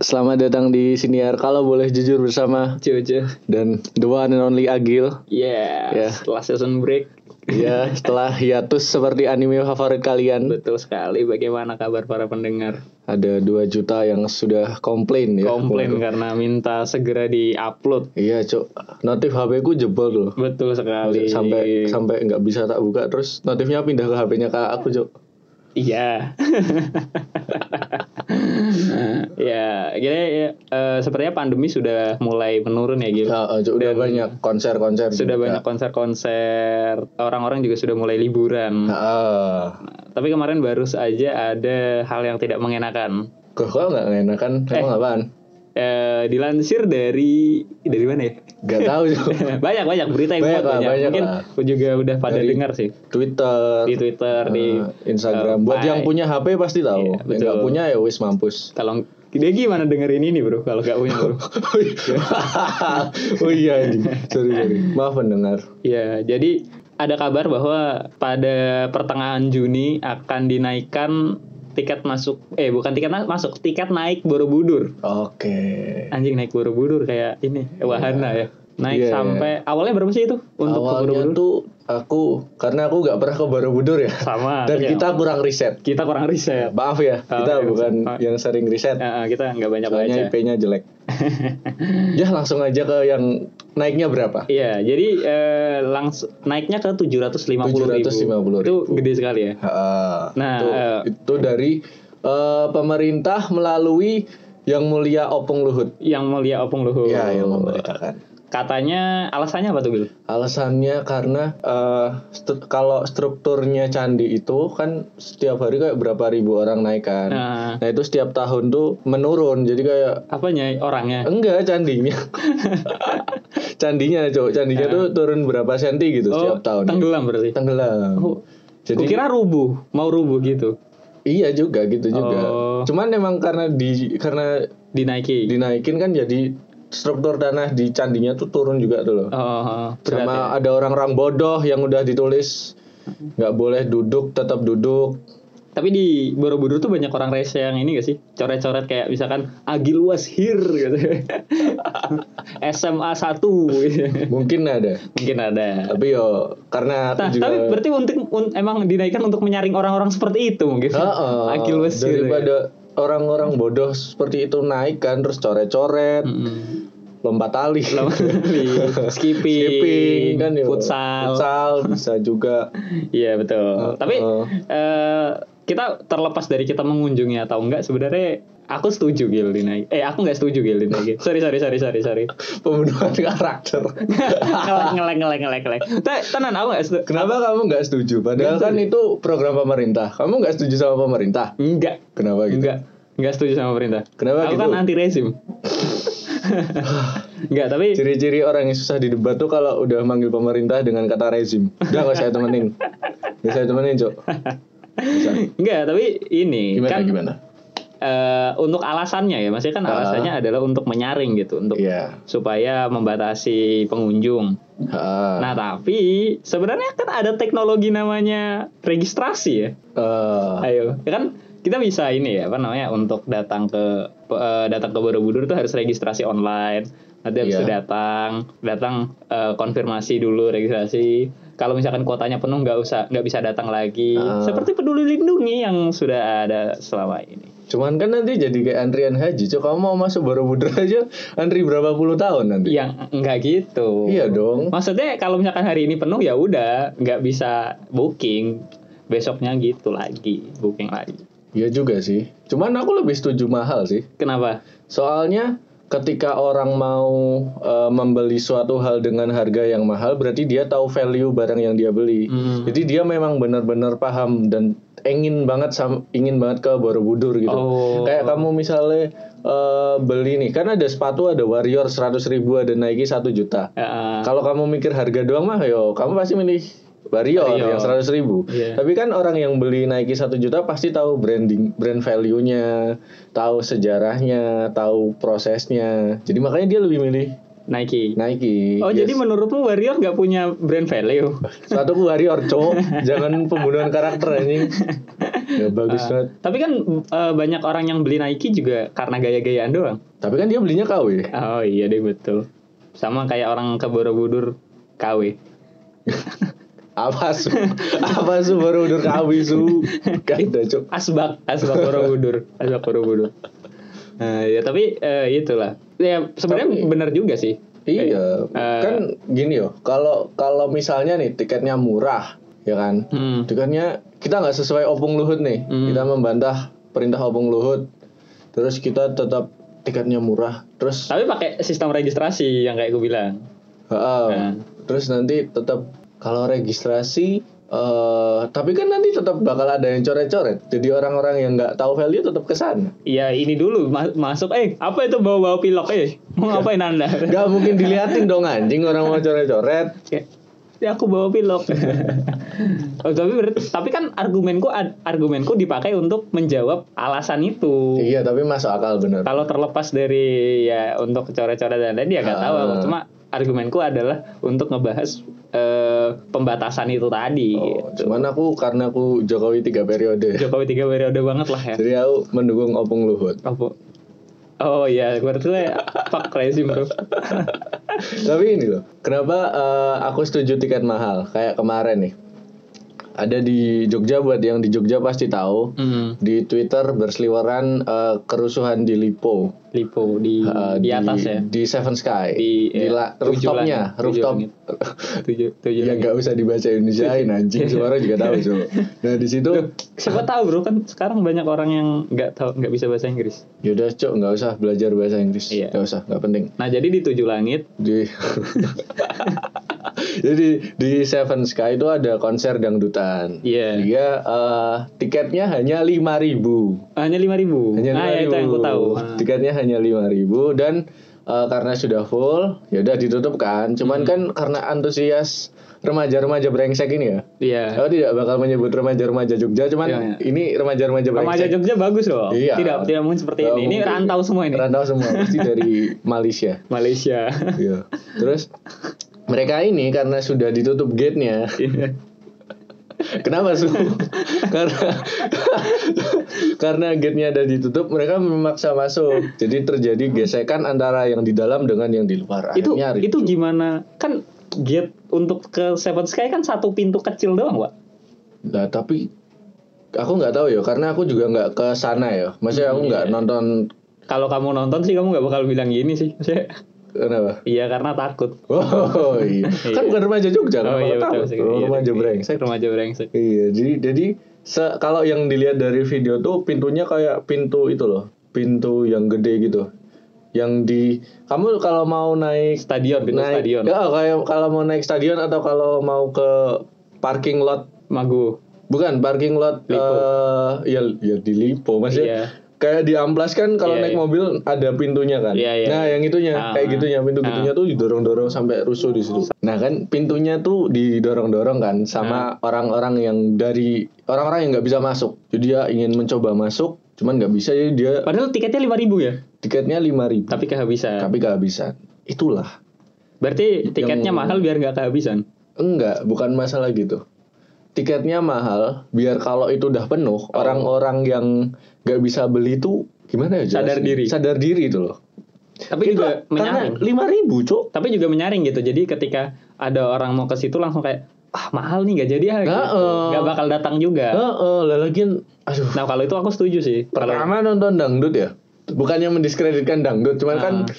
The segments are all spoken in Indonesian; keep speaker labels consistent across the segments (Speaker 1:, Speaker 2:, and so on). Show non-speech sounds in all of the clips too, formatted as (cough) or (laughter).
Speaker 1: Selamat datang di siniar kalau boleh jujur bersama
Speaker 2: Cucu.
Speaker 1: dan the one and only Agil.
Speaker 2: Yeah.
Speaker 1: Yeah.
Speaker 2: Setelah season break, (laughs)
Speaker 1: Ya, setelah hiatus seperti anime favorit kalian,
Speaker 2: betul sekali. Bagaimana kabar para pendengar?
Speaker 1: ada 2 juta yang sudah komplain ya. Waduh.
Speaker 2: Komplain karena minta segera diupload.
Speaker 1: Iya, Cuk. Notif HP ku jebol loh.
Speaker 2: Betul sekali.
Speaker 1: Sampai sampai nggak bisa tak buka terus notifnya pindah ke HP-nya kakak aku, Cuk.
Speaker 2: Iya. (laughs) ya, gini ya, eh, sepertinya pandemi sudah mulai menurun ya, Gil.
Speaker 1: Ya, eh, Cuk, udah
Speaker 2: Dan-
Speaker 1: banyak konser-konser.
Speaker 2: Sudah
Speaker 1: juga.
Speaker 2: banyak konser-konser, orang-orang juga sudah mulai liburan.
Speaker 1: Heeh.
Speaker 2: Tapi kemarin baru saja ada hal yang tidak mengenakan.
Speaker 1: Kok kok nggak ngenakan? Emang apaan?
Speaker 2: Eh, dilansir dari dari mana ya?
Speaker 1: Gak tahu, Cuk.
Speaker 2: (laughs) banyak banyak berita yang
Speaker 1: Gitu. Banyak lah,
Speaker 2: buat banyak.
Speaker 1: banyak
Speaker 2: mungkin
Speaker 1: lah.
Speaker 2: aku juga udah pada
Speaker 1: Dari-
Speaker 2: dengar sih
Speaker 1: Twitter,
Speaker 2: di Twitter di
Speaker 1: Eh, Instagram. Buat
Speaker 2: eh,
Speaker 1: yang punya HP pasti tahu. yang
Speaker 2: Iya, betul.
Speaker 1: nggak punya ya wis mampus. (laughs)
Speaker 2: kalau dia gimana dengerin ini bro kalau gak punya bro
Speaker 1: iya. (laughs) oh iya anjing. Sorry, sorry. Maaf pendengar.
Speaker 2: ya jadi ada kabar bahwa pada pertengahan Juni akan dinaikkan tiket masuk eh bukan tiket na- masuk tiket naik Borobudur
Speaker 1: Oke.
Speaker 2: anjing naik Borobudur kayak ini eh, wahana ya naik
Speaker 1: Iya, iya.
Speaker 2: sampai awalnya berapa sih itu untuk ke
Speaker 1: Awalnya
Speaker 2: Borobudur
Speaker 1: tuh aku karena aku nggak pernah ke Borobudur ya.
Speaker 2: sama
Speaker 1: Dan
Speaker 2: tapi ya,
Speaker 1: kita kurang riset.
Speaker 2: kita kurang
Speaker 1: (laughs)
Speaker 2: riset
Speaker 1: Maaf ya,
Speaker 2: Oh,
Speaker 1: kita
Speaker 2: iya,
Speaker 1: bukan
Speaker 2: maaf.
Speaker 1: yang sering riset.
Speaker 2: Nah, kita nggak banyak baca
Speaker 1: Soalnya IP-nya (laughs) jelek. ya langsung aja ke yang naiknya berapa?
Speaker 2: Iya, jadi eh, langs- naiknya ke 750.000.
Speaker 1: 750.000.
Speaker 2: Itu gede sekali ya.
Speaker 1: Ha,
Speaker 2: Nah,
Speaker 1: itu,
Speaker 2: eh,
Speaker 1: itu dari eh, pemerintah melalui yang mulia Opung Luhut.
Speaker 2: Yang mulia Opung Luhur.
Speaker 1: Ya, yang memberitakan.
Speaker 2: Katanya alasannya apa tuh, Bil?
Speaker 1: Alasannya karena eh, stru- kalau strukturnya candi itu kan setiap hari kayak berapa ribu orang naik kan. Nah,
Speaker 2: Nah,
Speaker 1: itu setiap tahun tuh menurun. Jadi kayak
Speaker 2: apanya orangnya?
Speaker 1: enggak candinya. (laughs) candinya, Cok. Candinya tuh turun berapa senti gitu
Speaker 2: Nah. Oh,
Speaker 1: setiap tahun.
Speaker 2: tenggelam berarti.
Speaker 1: Tenggelam.
Speaker 2: Oh,
Speaker 1: Jadi
Speaker 2: Kukira rubuh, mau rubuh gitu.
Speaker 1: iya juga gitu juga.
Speaker 2: Oh.
Speaker 1: Cuman emang karena di karena
Speaker 2: Dinaiki.
Speaker 1: dinaikin kan jadi struktur tanah di candinya tuh turun juga tuh loh.
Speaker 2: Oh, berat
Speaker 1: Sama
Speaker 2: ya.
Speaker 1: ada orang-orang bodoh yang udah ditulis nggak boleh duduk tetap duduk.
Speaker 2: Tapi di Borobudur tuh banyak orang rese yang ini gak sih? Coret-coret kayak misalkan Agil was here gitu. (laughs) SMA 1 gitu.
Speaker 1: Mungkin ada.
Speaker 2: (laughs) Mungkin ada.
Speaker 1: Tapi yo karena aku
Speaker 2: Nah,
Speaker 1: juga
Speaker 2: tapi berarti untuk un- emang dinaikkan untuk menyaring orang-orang seperti itu mungkin.
Speaker 1: Heeh.
Speaker 2: Akil wes gitu ya.
Speaker 1: daripada orang-orang bodoh seperti itu naik kan terus coret-coret,
Speaker 2: Mm-mm. (laughs)
Speaker 1: lompat tali, (laughs)
Speaker 2: Lama kali. Hmm. skipping,
Speaker 1: skipping kan yo.
Speaker 2: futsal.
Speaker 1: Futsal bisa juga. (laughs)
Speaker 2: Iya betul. Tapi
Speaker 1: Heeh.
Speaker 2: eh, kita terlepas dari kita mengunjungi atau enggak sebenarnya aku setuju Gil dinaik. Eh aku nggak setuju Gil dinaik. sorry sorry sorry sorry
Speaker 1: (laughs)
Speaker 2: sorry.
Speaker 1: Pembunuhan
Speaker 2: (laughs)
Speaker 1: karakter.
Speaker 2: ngelek ngelek ngelek ngelek ngelek. Te- Tenan aku nggak setuju.
Speaker 1: Kenapa kamu nggak setuju? Padahal
Speaker 2: Nggak
Speaker 1: kan itu program pemerintah. Kamu nggak setuju sama pemerintah?
Speaker 2: Enggak
Speaker 1: Kenapa gitu?
Speaker 2: Enggak, enggak setuju sama perintah.
Speaker 1: Kenapa
Speaker 2: Aku
Speaker 1: gitu?
Speaker 2: kan anti rezim.
Speaker 1: (laughs)
Speaker 2: enggak, tapi
Speaker 1: Ciri-ciri orang yang susah didebat tuh kalau udah manggil pemerintah dengan kata rezim. Udah nggak saya temenin. Nggak saya temenin, Cok. Bisa.
Speaker 2: enggak, tapi ini
Speaker 1: Gimana
Speaker 2: kan
Speaker 1: gimana?
Speaker 2: eh, untuk alasannya ya, maksudnya kan
Speaker 1: Ah.
Speaker 2: alasannya adalah untuk menyaring gitu, untuk
Speaker 1: Iya.
Speaker 2: supaya membatasi pengunjung.
Speaker 1: Ah,
Speaker 2: Nah, tapi sebenarnya kan ada teknologi namanya registrasi ya.
Speaker 1: eh,
Speaker 2: Ayo, ya kan kita bisa ini ya apa namanya untuk datang ke eh, datang ke Borobudur tuh harus registrasi online. Nanti
Speaker 1: Iya.
Speaker 2: habis itu datang, datang eh, konfirmasi dulu registrasi. Kalau misalkan kuotanya penuh nggak usah nggak bisa datang lagi.
Speaker 1: Ah.
Speaker 2: Seperti peduli lindungi yang sudah ada selama ini.
Speaker 1: cuman kan nanti jadi kayak antrian haji. Cok, kamu mau masuk Borobudur aja antri berapa puluh tahun nanti?
Speaker 2: Yang nggak gitu.
Speaker 1: Iya dong.
Speaker 2: Maksudnya kalau misalkan hari ini penuh ya udah nggak bisa booking besoknya gitu lagi booking lagi.
Speaker 1: Iya juga sih. Cuman aku lebih setuju mahal sih.
Speaker 2: Kenapa?
Speaker 1: Soalnya ketika orang mau eh, membeli suatu hal dengan harga yang mahal berarti dia tahu value barang yang dia beli.
Speaker 2: Hmm.
Speaker 1: Jadi dia memang benar-benar paham dan ingin banget sam- ingin banget ke Borobudur gitu.
Speaker 2: Oh.
Speaker 1: Kayak kamu misalnya eh, beli nih kan ada sepatu ada Warrior 100 ribu ada Nike 1 juta.
Speaker 2: Eh,
Speaker 1: Kalau kamu mikir harga doang mah yo kamu pasti milih Warrior, yang
Speaker 2: Warrior.
Speaker 1: 100 ribu.
Speaker 2: Iya.
Speaker 1: Tapi kan orang yang beli Nike 1 juta pasti tahu branding, brand value-nya, tahu sejarahnya, tahu prosesnya. Jadi makanya dia lebih milih
Speaker 2: Nike.
Speaker 1: Nike.
Speaker 2: Oh
Speaker 1: Yes.
Speaker 2: jadi menurutmu Warrior nggak punya brand value? (laughs)
Speaker 1: Suatu ku warrior, cowok. Jangan pembunuhan karakter anjing. ya bagus banget.
Speaker 2: Tapi kan eh, banyak orang yang beli Nike juga karena gaya-gayaan doang.
Speaker 1: Tapi kan dia belinya KW.
Speaker 2: Oh iya deh betul. Sama kayak orang ke Borobudur KW.
Speaker 1: Apa
Speaker 2: (laughs)
Speaker 1: su? Apa su baru udur KW su? Gak ada cuk.
Speaker 2: Asbak, asbak (laughs) Borobudur, asbak Borobudur. Nah, ya tapi eh, itulah. Ya sebenarnya benar juga sih.
Speaker 1: Iya,
Speaker 2: Eh,
Speaker 1: kan gini yo. Kalau kalau misalnya nih tiketnya murah, ya kan?
Speaker 2: Hmm.
Speaker 1: Tiketnya kita nggak sesuai opung luhut nih. Kita membantah perintah opung luhut. Terus kita tetap tiketnya murah. Terus
Speaker 2: Tapi pakai sistem registrasi yang kayak gue bilang.
Speaker 1: heeh.
Speaker 2: Nah.
Speaker 1: terus nanti tetap kalau registrasi eh tapi kan nanti tetap bakal ada yang coret-coret. Jadi orang-orang yang nggak tahu value tetap kesan.
Speaker 2: Ya ini dulu ma- masuk eh apa itu bawa-bawa pilok eh mau ngapain Anda? (laughs)
Speaker 1: Gak mungkin diliatin dong anjing orang mau coret-coret.
Speaker 2: Ya, ya aku bawa
Speaker 1: (laughs)
Speaker 2: pilok. oh, tapi ber- tapi kan argumenku ad- argumenku dipakai untuk menjawab alasan itu.
Speaker 1: Iya, tapi masuk akal bener.
Speaker 2: Kalau terlepas dari ya untuk core-core dan lain dia nggak tahu aku.
Speaker 1: Ah.
Speaker 2: Cuma argumenku adalah untuk ngebahas eh, pembatasan itu tadi.
Speaker 1: Oh, cuman aku karena aku Jokowi tiga periode.
Speaker 2: Jokowi tiga periode banget lah ya.
Speaker 1: Jadi aku mendukung Opung Luhut.
Speaker 2: Apa? Oh iya, berarti fuck crazy bro.
Speaker 1: Tapi ini loh, kenapa eh, aku setuju tiket mahal? Kayak kemarin nih. Ada di Jogja buat yang di Jogja pasti tahu.
Speaker 2: Hmm,
Speaker 1: Di Twitter berseliweran eh, kerusuhan di Lipo.
Speaker 2: lipo di
Speaker 1: Eh,
Speaker 2: di atas ya.
Speaker 1: Di Seven Sky.
Speaker 2: Di, eh,
Speaker 1: la-
Speaker 2: tujuh
Speaker 1: rooftopnya,
Speaker 2: langit,
Speaker 1: rooftop.
Speaker 2: tujuh Tujuh tujuh.
Speaker 1: Ya
Speaker 2: lagi.
Speaker 1: nggak usah dibaca Indonesiain anjing, semua orang juga tahu cuma. Nah di situ
Speaker 2: Siapa tahu bro kan sekarang banyak orang yang nggak tahu nggak bisa bahasa Inggris.
Speaker 1: yaudah cok nggak usah belajar bahasa Inggris,
Speaker 2: Iya.
Speaker 1: nggak usah, nggak penting.
Speaker 2: Nah jadi di tujuh langit.
Speaker 1: di (laughs) jadi di Seven Sky itu ada konser dangdutan
Speaker 2: Iya.
Speaker 1: dia eh, tiketnya hanya 5000 ribu
Speaker 2: Hanya lima ribu.
Speaker 1: hanya
Speaker 2: ah
Speaker 1: 5.000.
Speaker 2: ya itu yang aku tahu.
Speaker 1: tiketnya hanya 5000 dan eh, karena sudah full ya udah ditutup kan
Speaker 2: Hmm.
Speaker 1: cuman kan karena antusias remaja-remaja brengsek ini ya
Speaker 2: Iya.
Speaker 1: aku tidak bakal menyebut remaja-remaja Jogja cuman
Speaker 2: Iya, iya.
Speaker 1: ini remaja-remaja
Speaker 2: Remaja
Speaker 1: brengsek
Speaker 2: Jogja bagus loh.
Speaker 1: Iya.
Speaker 2: Tidak tidak mungkin seperti
Speaker 1: Nggak
Speaker 2: ini. Ini
Speaker 1: mungkin.
Speaker 2: rantau semua ini.
Speaker 1: rantau semua pasti
Speaker 2: (laughs)
Speaker 1: dari Malaysia (laughs)
Speaker 2: Malaysia.
Speaker 1: Iya. Terus mereka ini karena sudah ditutup gate-nya. (laughs) Kenapa su? (laughs) karena (laughs) karena gate-nya ada ditutup, mereka memaksa masuk. Jadi terjadi gesekan antara yang di dalam dengan yang di luar.
Speaker 2: itu
Speaker 1: Akhirnya
Speaker 2: itu
Speaker 1: ricu.
Speaker 2: gimana? Kan gate untuk ke Seven Sky kan satu pintu kecil doang, Pak.
Speaker 1: Nah, tapi aku nggak tahu ya, karena aku juga nggak ke sana ya. Maksudnya
Speaker 2: Hmm,
Speaker 1: aku
Speaker 2: iya.
Speaker 1: nggak nonton
Speaker 2: Kalau kamu nonton sih kamu nggak bakal bilang gini sih. Maksudnya, (laughs)
Speaker 1: kenapa? (laughs)
Speaker 2: Iya karena takut.
Speaker 1: Oh,
Speaker 2: (laughs)
Speaker 1: iya. kan bukan remaja Jogja,
Speaker 2: Oh
Speaker 1: kenapa
Speaker 2: iya
Speaker 1: nggak
Speaker 2: betul.
Speaker 1: tahu?
Speaker 2: betul. Iya,
Speaker 1: Remaja
Speaker 2: iya.
Speaker 1: brengsek.
Speaker 2: Remaja brengsek.
Speaker 1: Iya, jadi jadi se- kalau yang dilihat dari video tuh pintunya kayak pintu itu loh, pintu yang gede gitu. Yang di kamu kalau mau naik
Speaker 2: Stadion pintu
Speaker 1: naik
Speaker 2: stadion.
Speaker 1: Ya, kayak kalau mau naik stadion atau kalau mau ke parking lot
Speaker 2: Magu.
Speaker 1: bukan parking lot
Speaker 2: Lipo.
Speaker 1: eh, ya ya di Lipo
Speaker 2: Iya.
Speaker 1: maksudnya kayak di amplas kan kalau
Speaker 2: Iya,
Speaker 1: naik
Speaker 2: iya.
Speaker 1: mobil ada pintunya kan
Speaker 2: Iya, iya.
Speaker 1: nah yang itunya
Speaker 2: Ah,
Speaker 1: kayak gitunya pintu gitunya tuh didorong-dorong sampai rusuh di situ nah kan pintunya tuh didorong-dorong kan sama
Speaker 2: Ah.
Speaker 1: orang-orang yang dari orang-orang yang nggak bisa masuk jadi dia ingin mencoba masuk cuman nggak bisa jadi dia
Speaker 2: Padahal tiketnya 5000 ya,
Speaker 1: tiketnya lima ribu
Speaker 2: tapi kehabisan.
Speaker 1: tapi kehabisan itulah Iya,
Speaker 2: Berarti tiketnya mahal biar nggak kehabisan.
Speaker 1: Enggak, bukan masalah gitu. Tiketnya mahal, biar kalau itu udah penuh,
Speaker 2: Oh.
Speaker 1: orang-orang yang nggak bisa beli itu gimana ya?
Speaker 2: Sadar
Speaker 1: jelasin?
Speaker 2: diri.
Speaker 1: Sadar diri itu loh.
Speaker 2: Tapi juga
Speaker 1: Itu Iya,
Speaker 2: menyaring.
Speaker 1: karena lima ribu, cok.
Speaker 2: Tapi juga menyaring gitu. Jadi ketika ada orang mau ke situ langsung kayak ah mahal nih nggak jadi ah gitu.
Speaker 1: Heeh.
Speaker 2: Nggak bakal datang juga.
Speaker 1: Heeh, lah lagian, aduh.
Speaker 2: Ya. Nah kalau itu aku setuju sih. Kalau
Speaker 1: Pertama nonton dangdut ya, bukannya mendiskreditkan dangdut, cuman kan
Speaker 2: Nah.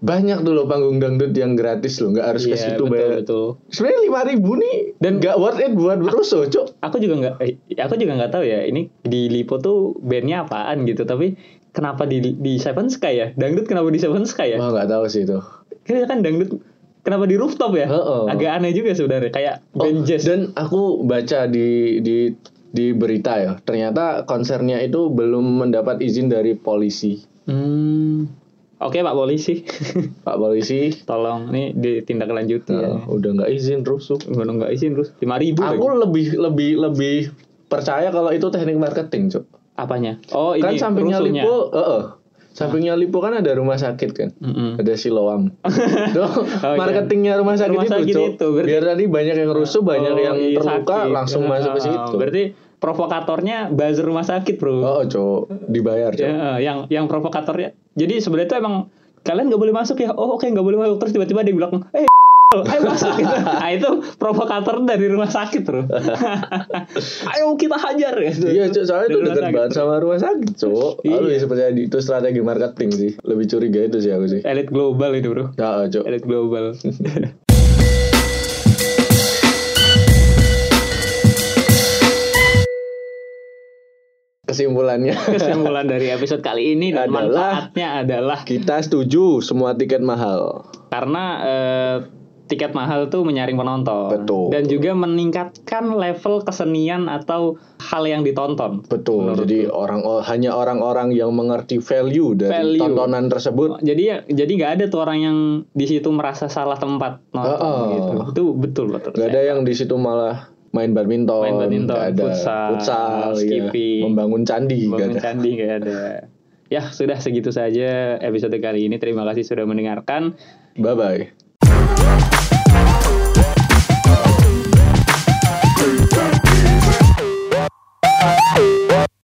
Speaker 1: banyak dulu panggung dangdut yang gratis loh, nggak harus
Speaker 2: Iya,
Speaker 1: ke situ
Speaker 2: betul,
Speaker 1: bayar.
Speaker 2: betul.
Speaker 1: Sebenarnya lima ribu nih, dan nggak worth it
Speaker 2: (laughs)
Speaker 1: buat berusuh, cok.
Speaker 2: Aku juga nggak, eh, aku juga nggak tahu ya. Ini di Lipo tuh bandnya apaan gitu. Tapi kenapa di di Seven Sky ya? Dangdut kenapa di Seven Sky ya?
Speaker 1: Wah nggak tahu sih itu.
Speaker 2: Kayaknya kan dangdut kenapa di rooftop ya?
Speaker 1: Heeh.
Speaker 2: Agak aneh juga sebenarnya. Kayak
Speaker 1: Oh,
Speaker 2: band jazz.
Speaker 1: Dan aku baca di di di berita ya, ternyata konsernya itu belum mendapat izin dari polisi.
Speaker 2: Hmm. Oke Pak Polisi, (laughs)
Speaker 1: Pak polisi
Speaker 2: tolong nih ditindaklanjuti
Speaker 1: eh,
Speaker 2: ya.
Speaker 1: udah nggak izin rusuh.
Speaker 2: Gunung nggak izin terus lima ribu
Speaker 1: Aku lebih lebih lebih percaya kalau itu teknik marketing, Cuk.
Speaker 2: Apanya? Oh
Speaker 1: Kan
Speaker 2: ini
Speaker 1: sampingnya
Speaker 2: rusuhnya.
Speaker 1: Lipo, heeh. Sampingnya Lipo kan ada rumah sakit kan.
Speaker 2: Mm-mm.
Speaker 1: Ada
Speaker 2: (laughs)
Speaker 1: siloam. Tuh,
Speaker 2: iya.
Speaker 1: marketingnya rumah sakit
Speaker 2: Rumah
Speaker 1: itu,
Speaker 2: sakit
Speaker 1: Cuk.
Speaker 2: itu, berarti-
Speaker 1: Biar tadi banyak yang rusuh, banyak
Speaker 2: Oh,
Speaker 1: yang
Speaker 2: iya,
Speaker 1: terluka
Speaker 2: sakit.
Speaker 1: langsung
Speaker 2: Ah,
Speaker 1: masuk ke situ.
Speaker 2: Berarti provokatornya buzzer rumah sakit
Speaker 1: Oh,
Speaker 2: bro
Speaker 1: iya. oh, cowok dibayar, cowok.
Speaker 2: Ya, eh, yang yang provokatornya jadi sebenarnya itu emang kalian nggak boleh masuk ya oh oke nggak boleh masuk terus tiba-tiba dia bilang eh (laughs) ayo masuk (laughs) gitu. nah, itu provokator dari rumah sakit bro (laughs) ayo kita hajar gitu
Speaker 1: Iya, cok, soalnya
Speaker 2: Dari
Speaker 1: itu
Speaker 2: rumah
Speaker 1: dekat
Speaker 2: sakit.
Speaker 1: banget sama rumah sakit, cok. Lalu
Speaker 2: Iya.
Speaker 1: ya seperti itu strategi marketing sih. Lebih curiga itu sih aku sih.
Speaker 2: elit global itu bro
Speaker 1: Nah, cok.
Speaker 2: elit
Speaker 1: (laughs)
Speaker 2: global
Speaker 1: Kesimpulannya (laughs)
Speaker 2: kesimpulan dari episode kali ini dan
Speaker 1: Adalah-
Speaker 2: manfaatnya adalah
Speaker 1: kita setuju semua tiket mahal.
Speaker 2: karena eh, tiket mahal tuh menyaring penonton
Speaker 1: Betul.
Speaker 2: dan juga meningkatkan level kesenian atau hal yang ditonton
Speaker 1: Betul.
Speaker 2: Menurut
Speaker 1: Jadi orang o- hanya orang-orang yang mengerti value dari
Speaker 2: Value.
Speaker 1: tontonan tersebut.
Speaker 2: jadi ya jadi nggak ada tuh orang yang di situ merasa salah tempat nonton
Speaker 1: Oh.
Speaker 2: gitu itu betul betul
Speaker 1: Gak ada yang di situ malah main badminton,
Speaker 2: Main badminton,
Speaker 1: nggak ada
Speaker 2: futsal,
Speaker 1: iya.
Speaker 2: skipping.
Speaker 1: membangun candi, nggak
Speaker 2: bangun
Speaker 1: ada.
Speaker 2: candi nggak ada ya sudah segitu saja episode kali ini terima kasih sudah mendengarkan
Speaker 1: Bye bye.